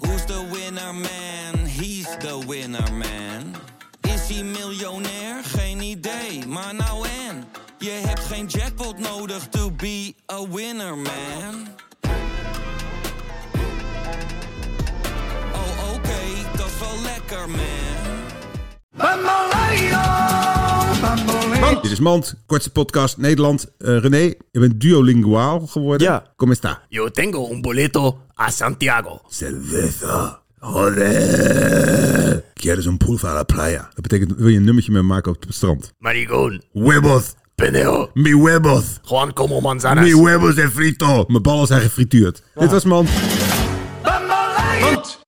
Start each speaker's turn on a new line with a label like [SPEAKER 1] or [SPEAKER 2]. [SPEAKER 1] Who's the winner man? He's the winner man. Is hij miljonair? Geen idee, maar nou en. Je hebt geen jackpot nodig to be a winner man. Oh oké, dat is wel lekker man.
[SPEAKER 2] Dit is Mand, kortste podcast Nederland. Eh, René, je bent duolinguaal geworden.
[SPEAKER 3] Ja.
[SPEAKER 2] Kom eens daar.
[SPEAKER 4] Yo tengo un boleto a Santiago.
[SPEAKER 2] Cerveza. Joder. Quieres un pulva a la playa. Dat betekent, wil je een nummertje mee maken op het strand?
[SPEAKER 4] Marigón,
[SPEAKER 2] Huevos.
[SPEAKER 4] pendejo.
[SPEAKER 2] Mi huevos.
[SPEAKER 4] Juan como manzanas.
[SPEAKER 2] Mi huevos en frito. Mijn ballen zijn gefrituurd. Dit was Mand.